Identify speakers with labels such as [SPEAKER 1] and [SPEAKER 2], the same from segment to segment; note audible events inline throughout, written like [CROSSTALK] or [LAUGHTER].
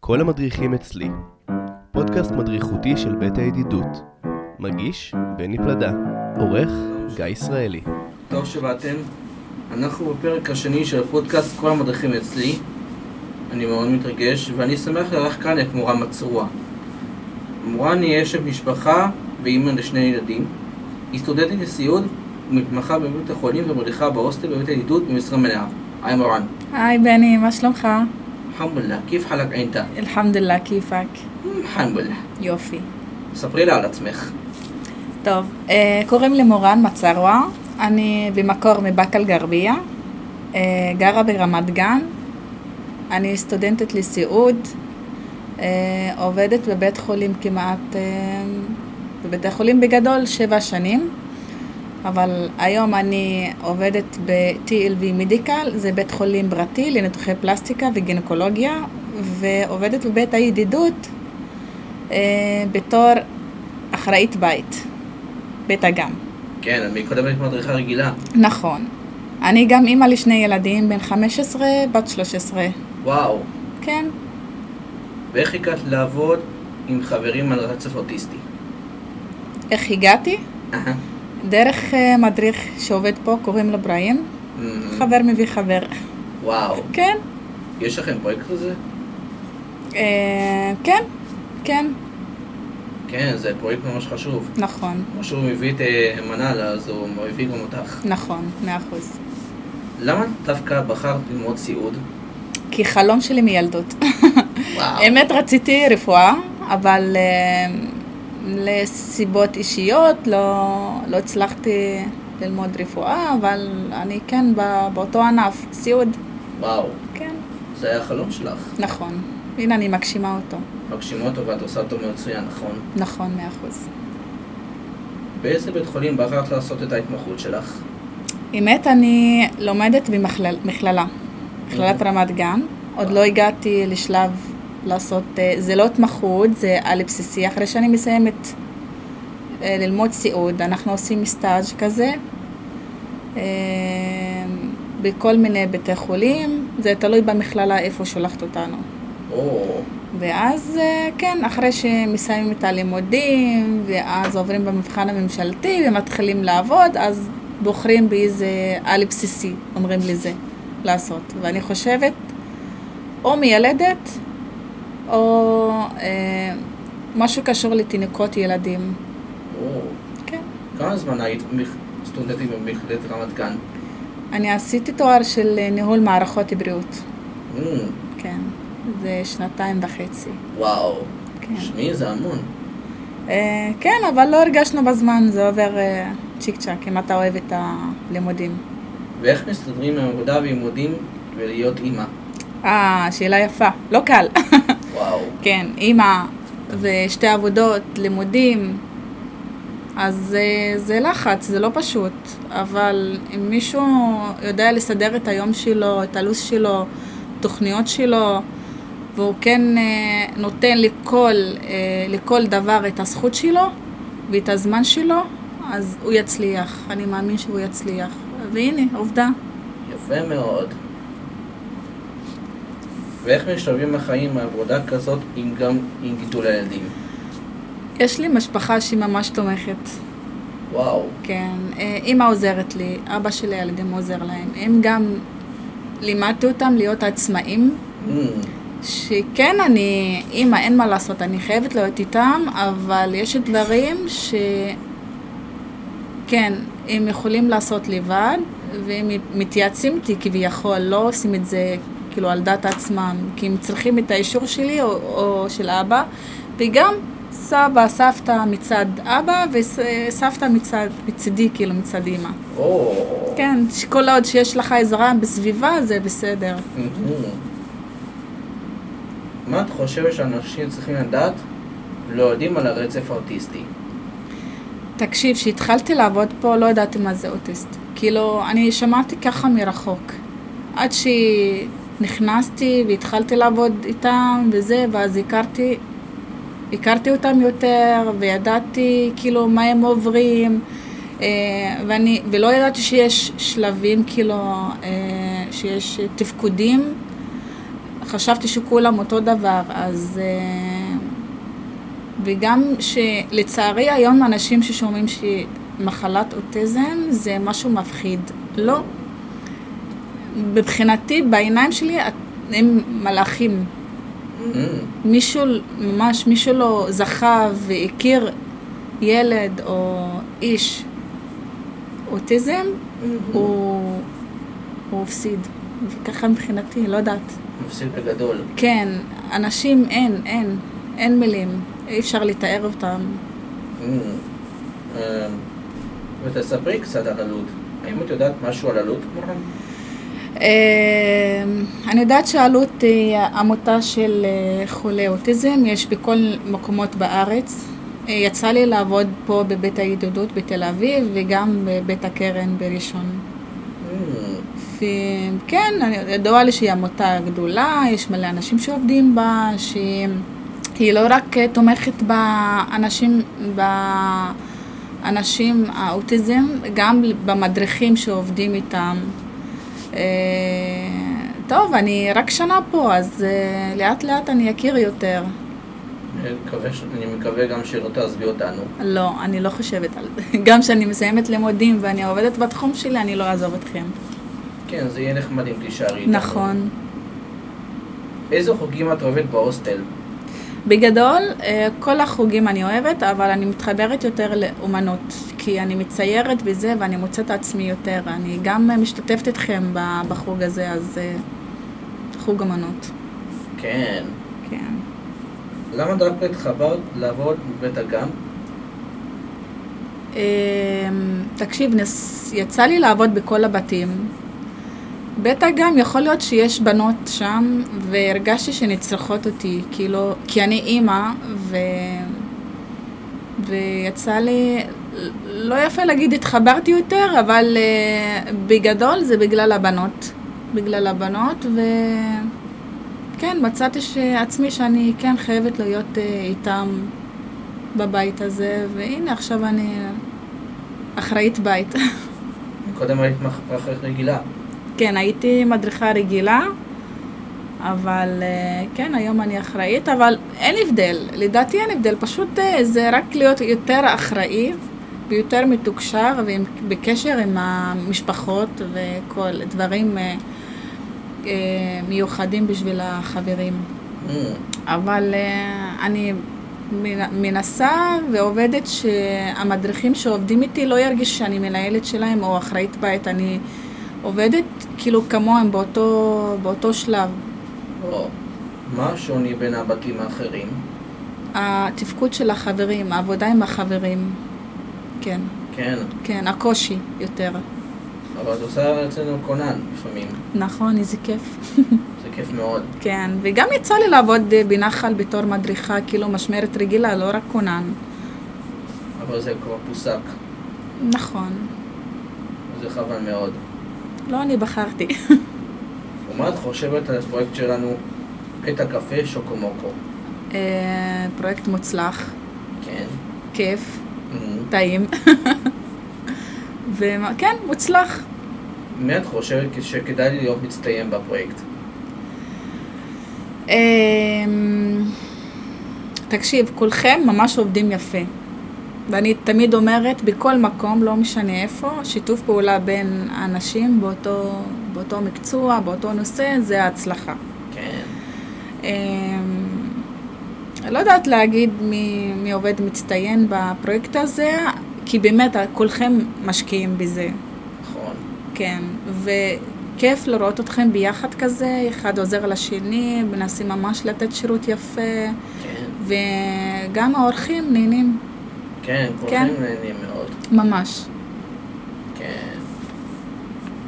[SPEAKER 1] כל המדריכים אצלי, פודקאסט מדריכותי של בית הידידות. מגיש בני פלדה, עורך גיא ישראלי.
[SPEAKER 2] טוב שבאתם. אנחנו בפרק השני של הפודקאסט כל המדריכים אצלי. אני מאוד מתרגש, ואני שמח לארח כאן את מורן מצרוע. מורן היא אשת משפחה ואימא לשני ילדים. היא סטודנטית לסיעוד ומתמחה בבית החולים ומדריכה בהוסטל בבית הידידות במשרה מלאה. היי מורן.
[SPEAKER 3] היי בני, מה שלומך?
[SPEAKER 2] אלחמדוללה, כיף חלק עינתה?
[SPEAKER 3] אלחמדוללה, כיפאק?
[SPEAKER 2] אלחמדוללה.
[SPEAKER 3] יופי.
[SPEAKER 2] ספרי לה על עצמך.
[SPEAKER 3] טוב, אה, קוראים לי מורן מצרווה, אני במקור מבאקה גרבייה, אה, גרה ברמת גן, אני סטודנטית לסיעוד, אה, עובדת בבית חולים כמעט, אה, בבית החולים בגדול שבע שנים, אבל היום אני עובדת ב-TLV מדיקל, זה בית חולים פרטי לניתוחי פלסטיקה וגינקולוגיה, ועובדת בבית הידידות אה, בתור אחראית בית, בית אגם.
[SPEAKER 2] כן, אני קודם הייתי מדריכה רגילה.
[SPEAKER 3] נכון. אני גם אימא לשני ילדים, בן 15, בת 13.
[SPEAKER 2] וואו.
[SPEAKER 3] כן.
[SPEAKER 2] ואיך הגעת לעבוד עם חברים על רצף אוטיסטי?
[SPEAKER 3] איך הגעתי?
[SPEAKER 2] אהה.
[SPEAKER 3] דרך אה, מדריך שעובד פה, קוראים לו בריים.
[SPEAKER 2] אמ,
[SPEAKER 3] חבר מביא חבר.
[SPEAKER 2] וואו.
[SPEAKER 3] כן.
[SPEAKER 2] יש לכם פרויקט כזה?
[SPEAKER 3] אה, כן. כן.
[SPEAKER 2] כן, זה פרויקט ממש חשוב.
[SPEAKER 3] נכון.
[SPEAKER 2] כמו שהוא מביא את אה, מנאלה, אז הוא מביא גם אותך.
[SPEAKER 3] נכון. מאה אחוז.
[SPEAKER 2] למה דווקא בחרת ללמוד סיעוד?
[SPEAKER 3] כי חלום שלי מילדות.
[SPEAKER 2] וואו.
[SPEAKER 3] האמת רציתי רפואה, אבל אה, לסיבות אישיות לא, לא הצלחתי ללמוד רפואה, אבל אני כן בא- באותו ענף, סיעוד,
[SPEAKER 2] וואו.
[SPEAKER 3] כן,
[SPEAKER 2] זה היה החלום שלך.
[SPEAKER 3] נכון. הנה אני מגשימה אותו,
[SPEAKER 2] מגשימה אותו ואת עושה אותו מצוין, נכון?
[SPEAKER 3] נכון, מאה אחוז.
[SPEAKER 2] באיזה בית חולים בחרת לעשות את ההתמחות שלך?
[SPEAKER 3] אמת, אני לומדת במכלל- מכללה, מכללת רמת גן. עוד לא הגעתי לשלב לעשות, אה, זה לא התמחות, זה על בסיסי. אחרי שאני מסיימת אה, ללמוד סיעוד, אנחנו עושים סטאז' כזה אה, בכל מיני בתי חולים, זה תלוי במכללה איפה שולחת אותנו.
[SPEAKER 2] או,
[SPEAKER 3] ואז אה, כן, אחרי שמסיימים את הלימודים, ואז עוברים במבחן הממשלתי ומתחילים לעבוד, אז בוחרים באיזה על בסיסי, אומרים לי זה, לעשות. ואני חושבת, או מיילדת, או אה, משהו קשור לתינוקות ילדים.
[SPEAKER 2] או.
[SPEAKER 3] כן.
[SPEAKER 2] כמה זמן היית מ- סטודנטית במכללת רמת גן?
[SPEAKER 3] אני עשיתי תואר של אה, ניהול מערכות בריאות,
[SPEAKER 2] אמ,
[SPEAKER 3] כן. זה שנתיים וחצי,
[SPEAKER 2] וואו.
[SPEAKER 3] כן.
[SPEAKER 2] שמי זה המון.
[SPEAKER 3] אה, כן, אבל לא הרגשנו בזמן, זה עובר אה, צ'יק צ'אק, אם אתה אוהב את הלימודים.
[SPEAKER 2] ואיך מסתדרים עם עבודה ולימודים ולהיות אימא?
[SPEAKER 3] אה, שאלה יפה, לא קל.
[SPEAKER 2] וואו.
[SPEAKER 3] כן, אימא ושתי עבודות, לימודים, אז אה, זה לחץ, זה לא פשוט, אבל אם מישהו יודע לסדר את היום שלו, את הלו"ז שלו, תוכניות שלו, והוא כן אה, נותן לכל, אה, לכל דבר את הזכות שלו ואת הזמן שלו, אז הוא יצליח, אני מאמין שהוא יצליח. והנה, עובדה.
[SPEAKER 2] יפה מאוד. ואיך משלבים החיים מעבודה כזאת עם גם עם גידול הילדים?
[SPEAKER 3] יש לי משפחה שהיא ממש תומכת.
[SPEAKER 2] וואו,
[SPEAKER 3] כן, אה, אימא עוזרת לי, אבא שלי הילדים עוזר להם. הם גם לימדתי אותם להיות עצמאים,
[SPEAKER 2] אמ,
[SPEAKER 3] שכן, אני אימא, אין מה לעשות, אני חייבת להיות איתם, אבל יש דברים שכן, הם יכולים לעשות לבד, והם מתייעצים איתי כביכול, לא עושים את זה כאילו על דעת עצמם, כי הם צריכים את האישור שלי או, או של אבא, וגם סבא, סבתא מצד אבא וסבתא מצד, מצדי, כאילו מצד אימא.
[SPEAKER 2] או,
[SPEAKER 3] כן, שכל עוד שיש לך עזרה בסביבה, זה בסדר.
[SPEAKER 2] אמ, מה את חושבת שאנשים צריכים לדעת ולא יודעים על הרצף האוטיסטי?
[SPEAKER 3] תקשיב, כשהתחלתי לעבוד פה לא ידעתי מה זה אוטיסט. כאילו, אני שמעתי ככה מרחוק. עד שנכנסתי והתחלתי לעבוד איתם וזה, ואז הכרתי, הכרתי אותם יותר, וידעתי כאילו מה הם עוברים, אה, ואני, ולא ידעתי שיש שלבים, כאילו, אה, שיש תפקודים. חשבתי שכולם אותו דבר, אז... אה, וגם שלצערי היום אנשים ששומעים שמחלת אוטיזם זה משהו מפחיד. לא. מבחינתי, בעיניים שלי, את- הם מלאכים.
[SPEAKER 2] Mm-hmm.
[SPEAKER 3] מישהו, ממש מישהו לא זכה והכיר ילד או איש אוטיזם, הוא, הוא הפסיד. וככה מבחינתי, לא יודעת.
[SPEAKER 2] מפסיד בגדול.
[SPEAKER 3] כן, אנשים אין, אין, אין מילים. אי אפשר לתאר אותם.
[SPEAKER 2] אמ, אמ, ותספרי קצת על הלוד. האם את יודעת משהו על הלוד, מורן?
[SPEAKER 3] אה, אני יודעת שאלות היא עמותה של אה, חולי אוטיזם, יש בכל מקומות בארץ. אה, יצא לי לעבוד פה בבית הידידות בתל אביב וגם בבית הקרן בראשון.
[SPEAKER 2] אמ,
[SPEAKER 3] וכן, כן, אני ידוע לי שהיא עמותה גדולה, יש מלא אנשים שעובדים בה, שהיא לא רק אה, תומכת באנשים, באנשים האוטיזם, גם במדריכים שעובדים איתם. אה, טוב, אני רק שנה פה, אז אה, לאט לאט אני אכיר יותר.
[SPEAKER 2] אני מקווה ש- אני מקווה גם שלא תעזבי אותנו.
[SPEAKER 3] לא, אני לא חושבת על זה. [LAUGHS] גם כשאני מסיימת לימודים ואני עובדת בתחום שלי, אני לא אעזוב אתכם.
[SPEAKER 2] כן, זה יהיה נחמד אם תישארי איתנו.
[SPEAKER 3] נכון.
[SPEAKER 2] איזה חוגים את אוהבת בהוסטל?
[SPEAKER 3] בגדול, אה, כל החוגים אני אוהבת, אבל אני מתחברת יותר לאומנות, כי אני מציירת וזה, ואני מוצאת עצמי יותר. אני גם אה, משתתפת איתכם ב- בחוג הזה, אז אה, חוג אומנות.
[SPEAKER 2] כן.
[SPEAKER 3] כן.
[SPEAKER 2] למה דווקא התחברת לעבוד בבית אגם?
[SPEAKER 3] אמ, תקשיב, נס... יצא לי לעבוד בכל הבתים. בטח גם יכול להיות שיש בנות שם, והרגשתי שהן צריכות אותי, כאילו, כי אני אימא, ו... ויצא לי, לא יפה להגיד התחברתי יותר, אבל אה, בגדול זה בגלל הבנות. בגלל הבנות, וכן, מצאתי שעצמי שאני כן חייבת להיות אה, איתם בבית הזה, והנה עכשיו אני אחראית בית. [LAUGHS]
[SPEAKER 2] קודם היית מחפכת רגילה.
[SPEAKER 3] כן, הייתי מדריכה רגילה, אבל אה, כן, היום אני אחראית, אבל אין הבדל, לדעתי אין הבדל, פשוט אה, זה רק להיות יותר אחראי ויותר מתוקשר ובקשר עם המשפחות וכל דברים אה, אה, מיוחדים בשביל החברים.
[SPEAKER 2] אמ,
[SPEAKER 3] אבל אה, אני מנ- מנסה ועובדת שהמדריכים שעובדים איתי לא ירגישו שאני מנהלת שלהם או אחראית בית, אני עובדת כאילו כמוהם באותו, באותו שלב.
[SPEAKER 2] או, מה השוני בין הבתים האחרים?
[SPEAKER 3] התפקוד של החברים, העבודה עם החברים, כן,
[SPEAKER 2] כן,
[SPEAKER 3] כן, הקושי יותר.
[SPEAKER 2] אבל את עושה אצלנו קונן לפעמים.
[SPEAKER 3] נכון, איזה כיף.
[SPEAKER 2] זה כיף מאוד.
[SPEAKER 3] כן, וגם יצא לי לעבוד אה, בנחל בתור מדריכה, כאילו משמרת רגילה, לא רק כונן.
[SPEAKER 2] אבל זה כבר פוסק.
[SPEAKER 3] נכון.
[SPEAKER 2] זה חבל מאוד.
[SPEAKER 3] לא אני בחרתי.
[SPEAKER 2] ומה את חושבת על הפרויקט שלנו? בית הקפה שוקומוקו.
[SPEAKER 3] אה, פרויקט מוצלח.
[SPEAKER 2] כן.
[SPEAKER 3] כיף,
[SPEAKER 2] אמ,
[SPEAKER 3] טעים. [LAUGHS] וכן, מוצלח.
[SPEAKER 2] מי את חושבת שכדאי להיות מצטיין בפרויקט?
[SPEAKER 3] אמ, תקשיב, כולכם ממש עובדים יפה. ואני תמיד אומרת, בכל מקום, לא משנה איפה, שיתוף פעולה בין האנשים באותו, באותו מקצוע, באותו נושא, זה ההצלחה.
[SPEAKER 2] כן.
[SPEAKER 3] אמ, לא יודעת להגיד מי, מי עובד מצטיין בפרויקט הזה, כי באמת כולכם משקיעים בזה.
[SPEAKER 2] נכון.
[SPEAKER 3] כן, וכיף לראות אתכם ביחד כזה, אחד עוזר לשני, מנסים ממש לתת שירות יפה,
[SPEAKER 2] כן.
[SPEAKER 3] וגם האורחים נהנים,
[SPEAKER 2] כן, כולכם נהנים מאוד.
[SPEAKER 3] ממש.
[SPEAKER 2] כן.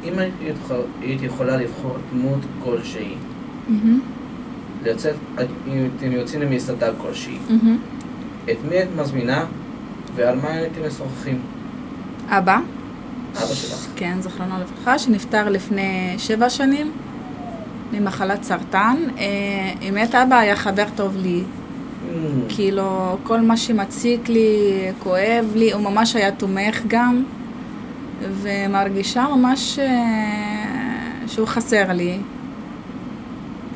[SPEAKER 2] אם היית יכול- היית יכולה לבחור דמות כלשהי,
[SPEAKER 3] מהמם,
[SPEAKER 2] לצאת, את- אם אתם יוצאים למסעדה כלשהי,
[SPEAKER 3] מהמם.
[SPEAKER 2] את מי את מזמינה ועל מה הייתם משוחחים?
[SPEAKER 3] אבא,
[SPEAKER 2] אבא שלך.
[SPEAKER 3] כן, זכרונו לברכה, שנפטר לפני שבע שנים ממחלת סרטן. אה, אמת אבא היה חבר טוב לי,
[SPEAKER 2] אמ,
[SPEAKER 3] כאילו, כל מה שמציק לי, כואב לי, הוא ממש היה תומך גם, ומרגישה ממש אה, שהוא חסר לי.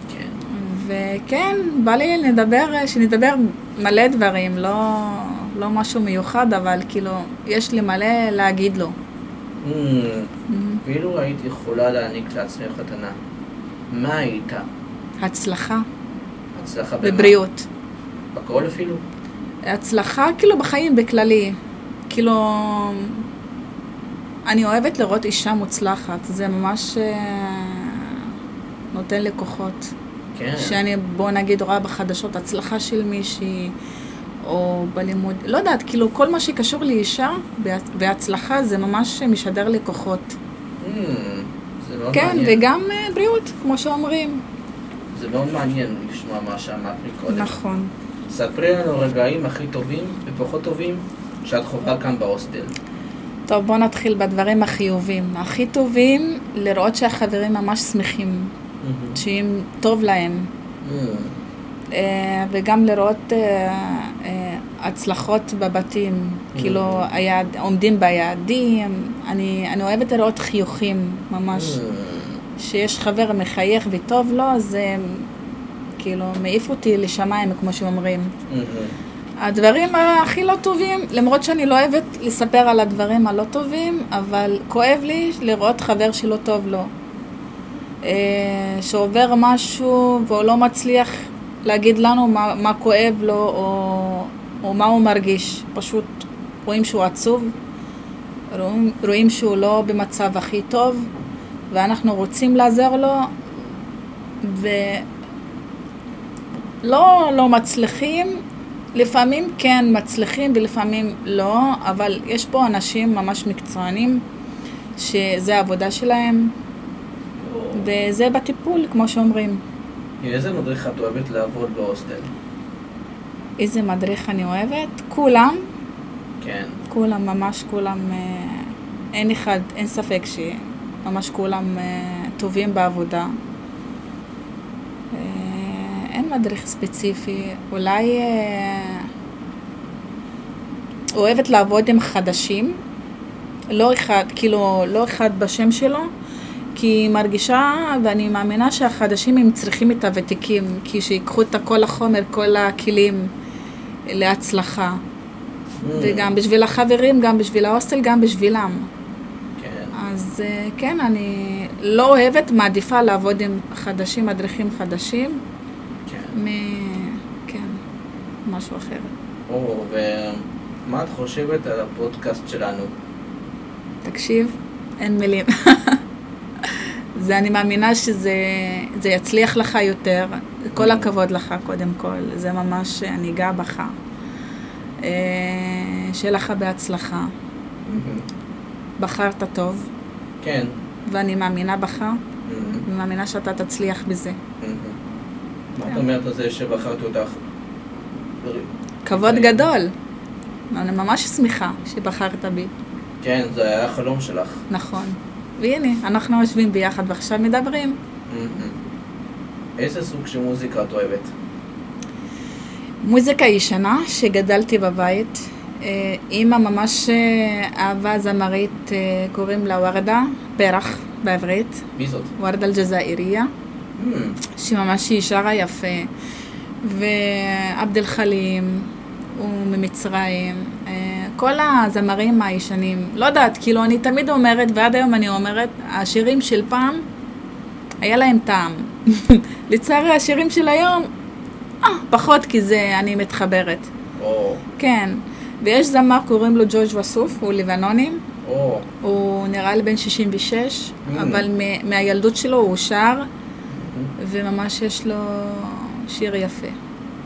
[SPEAKER 2] כן.
[SPEAKER 3] וכן, בא לי לדבר, אה, שנדבר מלא דברים, לא, לא משהו מיוחד, אבל כאילו, יש לי מלא להגיד לו. Mm-hmm.
[SPEAKER 2] אמ, ואילו היית יכולה להעניק לעצמך מתנה, מה היית?
[SPEAKER 3] הצלחה
[SPEAKER 2] הצלחה במה?
[SPEAKER 3] בבריאות.
[SPEAKER 2] בכל אפילו?
[SPEAKER 3] הצלחה כאילו בחיים בכללי. כאילו, אני אוהבת לראות אישה מוצלחת, זה ממש אה, נותן לי כוחות.
[SPEAKER 2] כן.
[SPEAKER 3] שאני, בוא נגיד, רואה בחדשות הצלחה של מישהי, או בלימוד, לא יודעת, כאילו, כל מה שקשור לאישה בהצ- והצלחה זה ממש משדר לי כוחות.
[SPEAKER 2] אמ, זה מאוד
[SPEAKER 3] כן,
[SPEAKER 2] מעניין.
[SPEAKER 3] וגם אה, בריאות, כמו שאומרים.
[SPEAKER 2] זה מאוד מעניין לשמוע מה שאמרת מקודם.
[SPEAKER 3] נכון.
[SPEAKER 2] ספרי לנו רגעים הכי טובים ופחות טובים שאת חווה כאן בהוסטל.
[SPEAKER 3] טוב, בוא נתחיל בדברים החיובים. הכי טובים, לראות שהחברים ממש שמחים, שאם טוב להם.
[SPEAKER 2] אמ,
[SPEAKER 3] אה, וגם לראות אה, אה, הצלחות בבתים, כאילו היעד, עומדים ביעדים, אני, אני אוהבת לראות חיוכים ממש,
[SPEAKER 2] אמ,
[SPEAKER 3] שיש חבר מחייך וטוב לו, אז זה כאילו מעיף אותי לשמיים, כמו שאומרים.
[SPEAKER 2] אמ,
[SPEAKER 3] הדברים הכי לא טובים, למרות שאני לא אוהבת לספר על הדברים הלא טובים, אבל כואב לי לראות חבר שלא טוב לו. אה, שעובר משהו והוא לא מצליח להגיד לנו מה, מה כואב לו או, או מה הוא מרגיש. פשוט רואים שהוא עצוב, רואים, רואים שהוא לא במצב הכי טוב, ואנחנו רוצים לעזור לו, ולא לא מצליחים. לפעמים כן מצליחים ולפעמים לא, אבל יש פה אנשים ממש מקצוענים שזה העבודה שלהם, וזה בטיפול, כמו שאומרים.
[SPEAKER 2] עם איזה מדריך את אוהבת לעבוד בהוסטל?
[SPEAKER 3] איזה מדריך אני אוהבת? כולם,
[SPEAKER 2] כן.
[SPEAKER 3] כולם, ממש כולם, אה, אין אחד, אין ספק שממש כולם אה, טובים בעבודה. אה, אין מדריך ספציפי, אולי אה, אוהבת לעבוד עם חדשים, לא אחד, כאילו, לא אחד בשם שלו. כי היא מרגישה ואני מאמינה שהחדשים הם צריכים את הוותיקים, כי שיקחו את כל החומר, כל הכלים להצלחה. וגם בשביל החברים, גם בשביל ההוסטל, גם בשבילם.
[SPEAKER 2] כן.
[SPEAKER 3] אז אה, כן, אני לא אוהבת, מעדיפה לעבוד עם חדשים, מדריכים חדשים,
[SPEAKER 2] כן.
[SPEAKER 3] מ... כן, משהו אחר.
[SPEAKER 2] אור, ומה את חושבת על הפודקאסט שלנו?
[SPEAKER 3] תקשיב, אין מילים. [LAUGHS] זה, אני מאמינה שזה זה יצליח לך יותר. כל הכבוד לך, קודם כל. זה ממש, אני גאה בך. אה, שיהיה לך בהצלחה. Mm-hmm. בחרת טוב,
[SPEAKER 2] כן. Mm-hmm.
[SPEAKER 3] ואני מאמינה בך, ומאמינה שאתה תצליח בזה.
[SPEAKER 2] מה את אומרת על זה שבחרתי אותך?
[SPEAKER 3] כבוד גדול. אני ממש שמחה שבחרת בי,
[SPEAKER 2] כן, זה היה החלום שלך.
[SPEAKER 3] נכון. והנה, אנחנו יושבים ביחד ועכשיו מדברים.
[SPEAKER 2] Mm-hmm. איזה סוג של מוזיקה את אוהבת?
[SPEAKER 3] מוזיקה ישנה שגדלתי בבית. אה, אימא ממש אה, אהבה זמרית, אה, קוראים לה ורדה, פרח בעברית,
[SPEAKER 2] מי זאת?
[SPEAKER 3] ורדה אלג'זאיריה,
[SPEAKER 2] אמ,
[SPEAKER 3] שממש היא שרה יפה. ועבד אל חלים, הוא ממצרים. אה, כל הזמרים הישנים, לא יודעת, כאילו אני תמיד אומרת, ועד היום אני אומרת, השירים של פעם, היה להם טעם. [LAUGHS] לצערי השירים של היום, אה, פחות כי זה, אני מתחברת.
[SPEAKER 2] או,
[SPEAKER 3] כן, ויש זמר, קוראים לו ג'ורג' וסוף, הוא לבנוני,
[SPEAKER 2] או,
[SPEAKER 3] הוא נראה לי בן 66,
[SPEAKER 2] Mm.
[SPEAKER 3] אבל מ- מהילדות שלו הוא שר,
[SPEAKER 2] hmm.
[SPEAKER 3] וממש יש לו שיר יפה,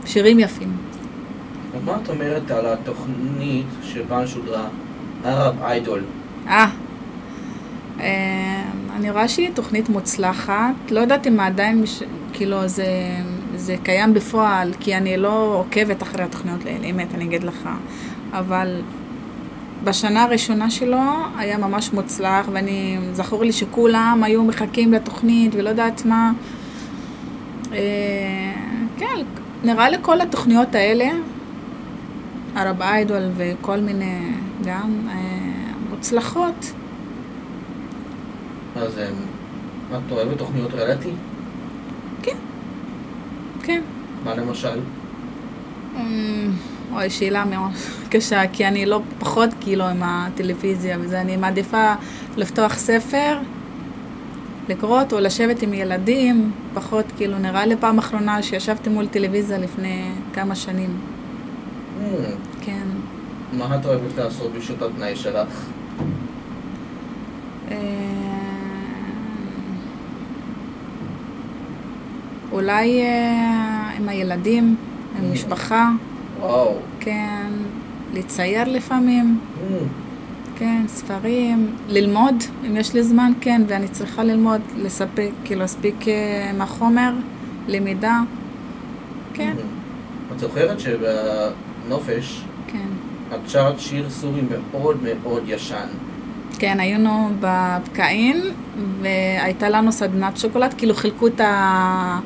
[SPEAKER 3] שירים יפים.
[SPEAKER 2] ומה את אומרת על התוכנית שפעם שודרה, ערב איידול?
[SPEAKER 3] אה, אה, אני רואה שהיא תוכנית מוצלחת, לא יודעת אם עדיין, מש- כאילו, זה, זה קיים בפועל, כי אני לא עוקבת אחרי התוכניות האלה, אמת, אני אגיד לך, אבל בשנה הראשונה שלו היה ממש מוצלח, ואני, זכור לי שכולם היו מחכים לתוכנית ולא יודעת מה. אה, כן, נראה לי כל התוכניות האלה, ערב איידול וכל מיני גם אה, מוצלחות.
[SPEAKER 2] אז אמ, את אוהבת תוכניות ריאליטי?
[SPEAKER 3] כן.
[SPEAKER 2] מה למשל?
[SPEAKER 3] אמ, אוי, שאלה מאוד [LAUGHS] קשה, כי אני לא פחות כאילו עם הטלוויזיה וזה, אני מעדיפה לפתוח ספר, לקרוא אותו, לשבת עם ילדים, פחות כאילו, נראה לי פעם אחרונה שישבתי מול טלוויזיה לפני כמה שנים,
[SPEAKER 2] Hmm,
[SPEAKER 3] כן.
[SPEAKER 2] מה את אוהבת לעשות בשעות התנאי שלך?
[SPEAKER 3] אה, אולי אה, עם הילדים, עם משפחה,
[SPEAKER 2] וואו.
[SPEAKER 3] כן, לצייר לפעמים.
[SPEAKER 2] Hmm,
[SPEAKER 3] כן, ספרים, ללמוד, אם יש לי זמן, כן, ואני צריכה ללמוד, לספק, כאילו, להספיק אה, מהחומר, למידה, כן,
[SPEAKER 2] hmm. את זוכרת שבנופש
[SPEAKER 3] כן.
[SPEAKER 2] את שרת שיר סורי מאוד מאוד ישן.
[SPEAKER 3] כן, היינו בפקעין, והייתה לנו סדנת שוקולד, כאילו חילקו את, ה...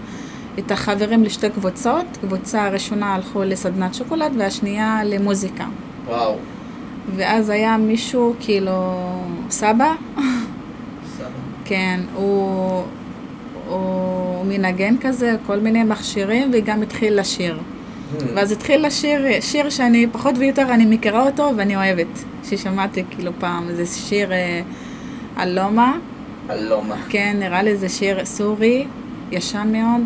[SPEAKER 3] את החברים לשתי קבוצות, קבוצה הראשונה הלכו לסדנת שוקולד, והשנייה למוזיקה.
[SPEAKER 2] וואו.
[SPEAKER 3] ואז היה מישהו, כאילו, סבא,
[SPEAKER 2] סבבה.
[SPEAKER 3] כן, הוא, הוא מנגן כזה, כל מיני מכשירים, וגם התחיל לשיר.
[SPEAKER 2] Hmm,
[SPEAKER 3] ואז התחיל לשיר, שיר שאני פחות ויותר, אני מכירה אותו ואני אוהבת, ששמעתי כאילו פעם, זה שיר אה, אלומה,
[SPEAKER 2] הלומה.
[SPEAKER 3] כן, נראה לי זה שיר סורי, ישן מאוד,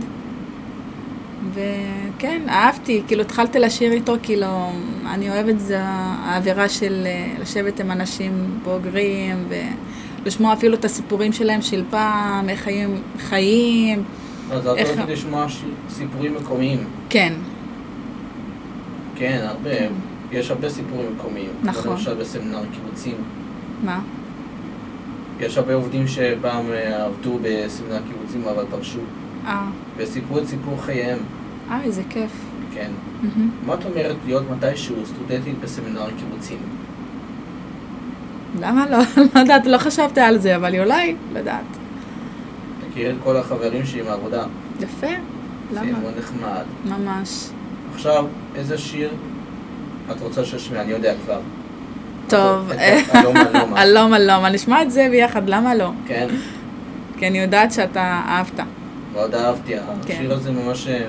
[SPEAKER 3] וכן, אהבתי, כאילו התחלתי לשיר איתו, כאילו, אני אוהבת זה האווירה של אה, לשבת עם אנשים בוגרים, ולשמוע אפילו את הסיפורים שלהם של פעם, איך חיים, חיים,
[SPEAKER 2] אז את
[SPEAKER 3] איך-
[SPEAKER 2] אוהבת לשמוע שיר- סיפורים מקומיים.
[SPEAKER 3] כן,
[SPEAKER 2] כן, הרבה. יש הרבה סיפורים מקומיים.
[SPEAKER 3] נכון.
[SPEAKER 2] למשל בסמינר קיבוצים.
[SPEAKER 3] מה?
[SPEAKER 2] יש הרבה עובדים שפעם אה, עבדו בסמינר קיבוצים אבל פרשו.
[SPEAKER 3] אה,
[SPEAKER 2] וסיפרו את סיפור חייהם.
[SPEAKER 3] אה, איזה כיף.
[SPEAKER 2] כן.
[SPEAKER 3] מהמם.
[SPEAKER 2] מה את אומרת להיות מתישהו סטודנטית בסמינר קיבוצים?
[SPEAKER 3] למה לא? [LAUGHS] לא יודעת, לא חשבתי על זה, אבל אולי, לא יודעת.
[SPEAKER 2] תכיר את כל החברים שלי מהעבודה.
[SPEAKER 3] יפה,
[SPEAKER 2] זה
[SPEAKER 3] למה?
[SPEAKER 2] מאוד נחמד.
[SPEAKER 3] ממש.
[SPEAKER 2] עכשיו, איזה שיר את רוצה שאשמיע? אני יודע כבר.
[SPEAKER 3] טוב, אה, לא-
[SPEAKER 2] את- אלומה, אלומה.
[SPEAKER 3] [LAUGHS] הלום הלום, נשמע את זה ביחד, למה לא?
[SPEAKER 2] לא כן,
[SPEAKER 3] כי אני יודעת שאתה אהבת,
[SPEAKER 2] מאוד אהבתי.
[SPEAKER 3] כן.
[SPEAKER 2] השיר הזה ממש אה,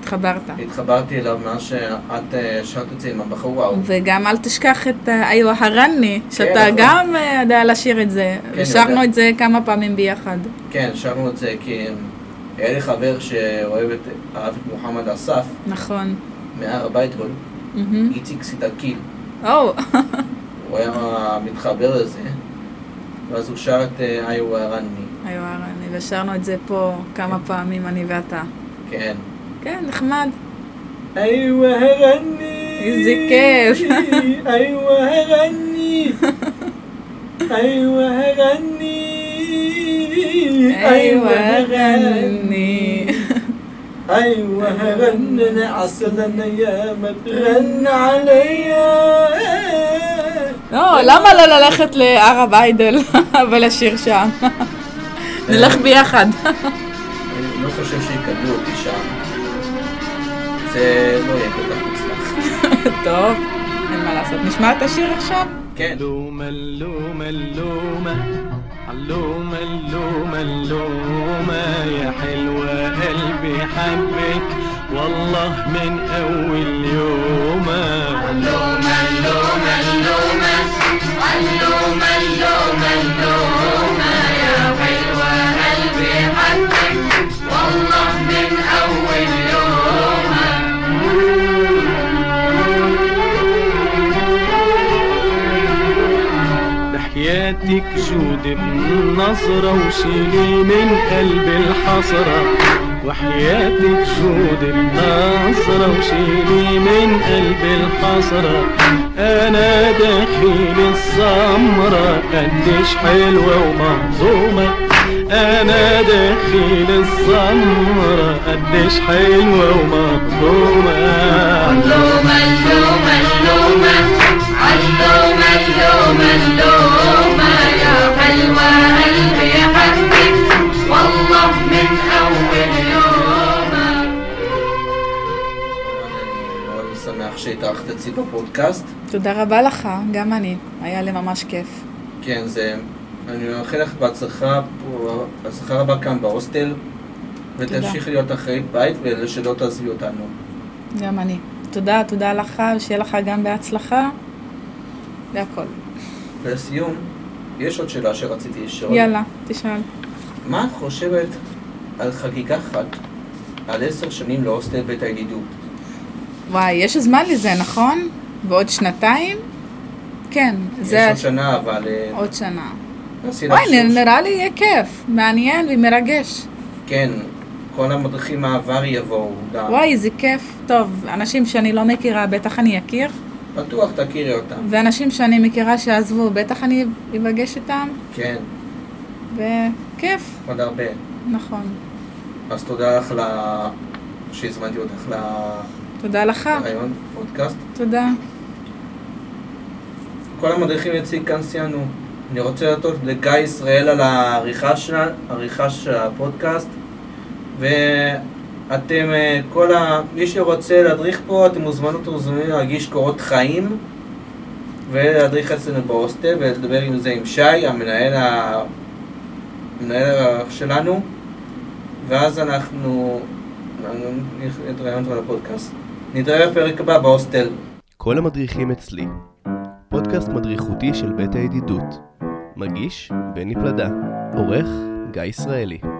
[SPEAKER 3] התחברת.
[SPEAKER 2] התחברתי אליו מאז שאת אה, שרת את זה עם הבחור ההוא.
[SPEAKER 3] וגם אל תשכח את אה, איו הרני, שאתה
[SPEAKER 2] נכון.
[SPEAKER 3] גם אה, יודע לשיר את זה.
[SPEAKER 2] כן,
[SPEAKER 3] ושרנו
[SPEAKER 2] יודע.
[SPEAKER 3] את זה כמה פעמים ביחד.
[SPEAKER 2] כן, שרנו את זה כי אה, היה לי חבר שאוהב את, אהב את מוחמד אסף
[SPEAKER 3] נכון.
[SPEAKER 2] מהר הבית, אבל
[SPEAKER 3] מהמם.
[SPEAKER 2] איציק סידקיל.
[SPEAKER 3] או, [LAUGHS]
[SPEAKER 2] הוא היה מתחבר לזה, ואז הוא שר את אה, איו הרני.
[SPEAKER 3] איו הרני, ושרנו את זה פה כמה פעמים, אני ואתה.
[SPEAKER 2] כן.
[SPEAKER 3] כן, נחמד.
[SPEAKER 2] איו הרני!
[SPEAKER 3] איזה כיף.
[SPEAKER 2] [LAUGHS] איו
[SPEAKER 3] [LAUGHS]
[SPEAKER 2] הרני! איו הרני!
[SPEAKER 3] איו הרני.
[SPEAKER 2] أيوة غنن عسلنا يا متغن عليا
[SPEAKER 3] [LAUGHS] לא, למה לא ללכת לערב איידל [LAUGHS] ולשיר שם?
[SPEAKER 2] אה.
[SPEAKER 3] נלך ביחד.
[SPEAKER 2] אני לא חושב שיקבלו אותי שם. זה לא יהיה כל כך מוצלח.
[SPEAKER 3] טוב, אין מה לעשות. נשמע את השיר עכשיו?
[SPEAKER 2] כן.
[SPEAKER 4] اللومة اللومة اللومة اللومة اللومة اللومة يا حلوة قلبي حبك والله من أول يوم اللومة اللومة اللومة اللومة اللومة اللومة يا حلوة قلبي حبك والله من أول يوم بحياتك جود من نظرة وشيلي من قلب الحسرة وحياتك جود من نظرة وشيلي من قلب الحسرة أنا دخيل السمرة قديش حلوة ومهضومة أنا دخيل السمرة قديش حلوة ومهضومة
[SPEAKER 5] اللوم اللوم اللوم اللوم اللوم اللوم يا حلوة قلبي حبك والله من أول يوم
[SPEAKER 2] אני מאוד שמח שהתארחת אצלי בפודקאסט.
[SPEAKER 3] תודה רבה לך, גם אני. היה לי ממש כיף.
[SPEAKER 2] כן, זה... אני מאחל לך בהצלחה, פה- בהצלחה רבה כאן בהוסטל. ותמשיכי להיות אחראית בית ושלא תעזבי אותנו.
[SPEAKER 3] גם אני. תודה, תודה לך, ושיהיה לך גם בהצלחה. והכל.
[SPEAKER 2] לסיום, יש עוד שאלה שרציתי לשאול.
[SPEAKER 3] יאללה, תשאל.
[SPEAKER 2] מה את חושבת על חגיגה חד? על עשר שנים להוסטל בית הידידות.
[SPEAKER 3] וואי, יש זמן לזה, נכון? בעוד שנתיים? כן,
[SPEAKER 2] יש
[SPEAKER 3] זה
[SPEAKER 2] עוד שנה, אבל... אה,
[SPEAKER 3] עוד שנה.
[SPEAKER 2] נסי
[SPEAKER 3] וואי,
[SPEAKER 2] לחשוב.
[SPEAKER 3] נ- נראה לי יהיה כיף, מעניין ומרגש.
[SPEAKER 2] כן, כל המדריכים מהעבר יבואו גם.
[SPEAKER 3] וואי, זה כיף. טוב, אנשים שאני לא מכירה, בטח אני אכיר,
[SPEAKER 2] בטוח תכירי אותם.
[SPEAKER 3] ואנשים שאני מכירה שעזבו, בטח אני אפגש איתם,
[SPEAKER 2] כן,
[SPEAKER 3] וכיף,
[SPEAKER 2] עוד הרבה.
[SPEAKER 3] נכון.
[SPEAKER 2] אז תודה לך ל... שהזמנתי אותך
[SPEAKER 3] אה.
[SPEAKER 2] ל-
[SPEAKER 3] תודה לך,
[SPEAKER 2] לרעיון פודקאסט.
[SPEAKER 3] תודה.
[SPEAKER 2] כל המדריכים יציג כאן סיימנו. אני רוצה להודות לגיא ישראל על העריכה של, העריכה של הפודקאסט, ואתם, אה, כל ה... מי שרוצה להדריך פה, אתם מוזמנות ומוזמנים להגיש קורות חיים, ולהדריך אצלנו בהוסטל, ולדבר עם זה עם שי, המנהל, ה... המנהל שלנו, ואז אנחנו... נתראה על הפודקאסט. נתראה בפרק הבא בהוסטל.
[SPEAKER 1] כל המדריכים אצלי. פודקאסט מדריכותי של בית הידידות. מגיש בני פלדה. עורך גיא ישראלי.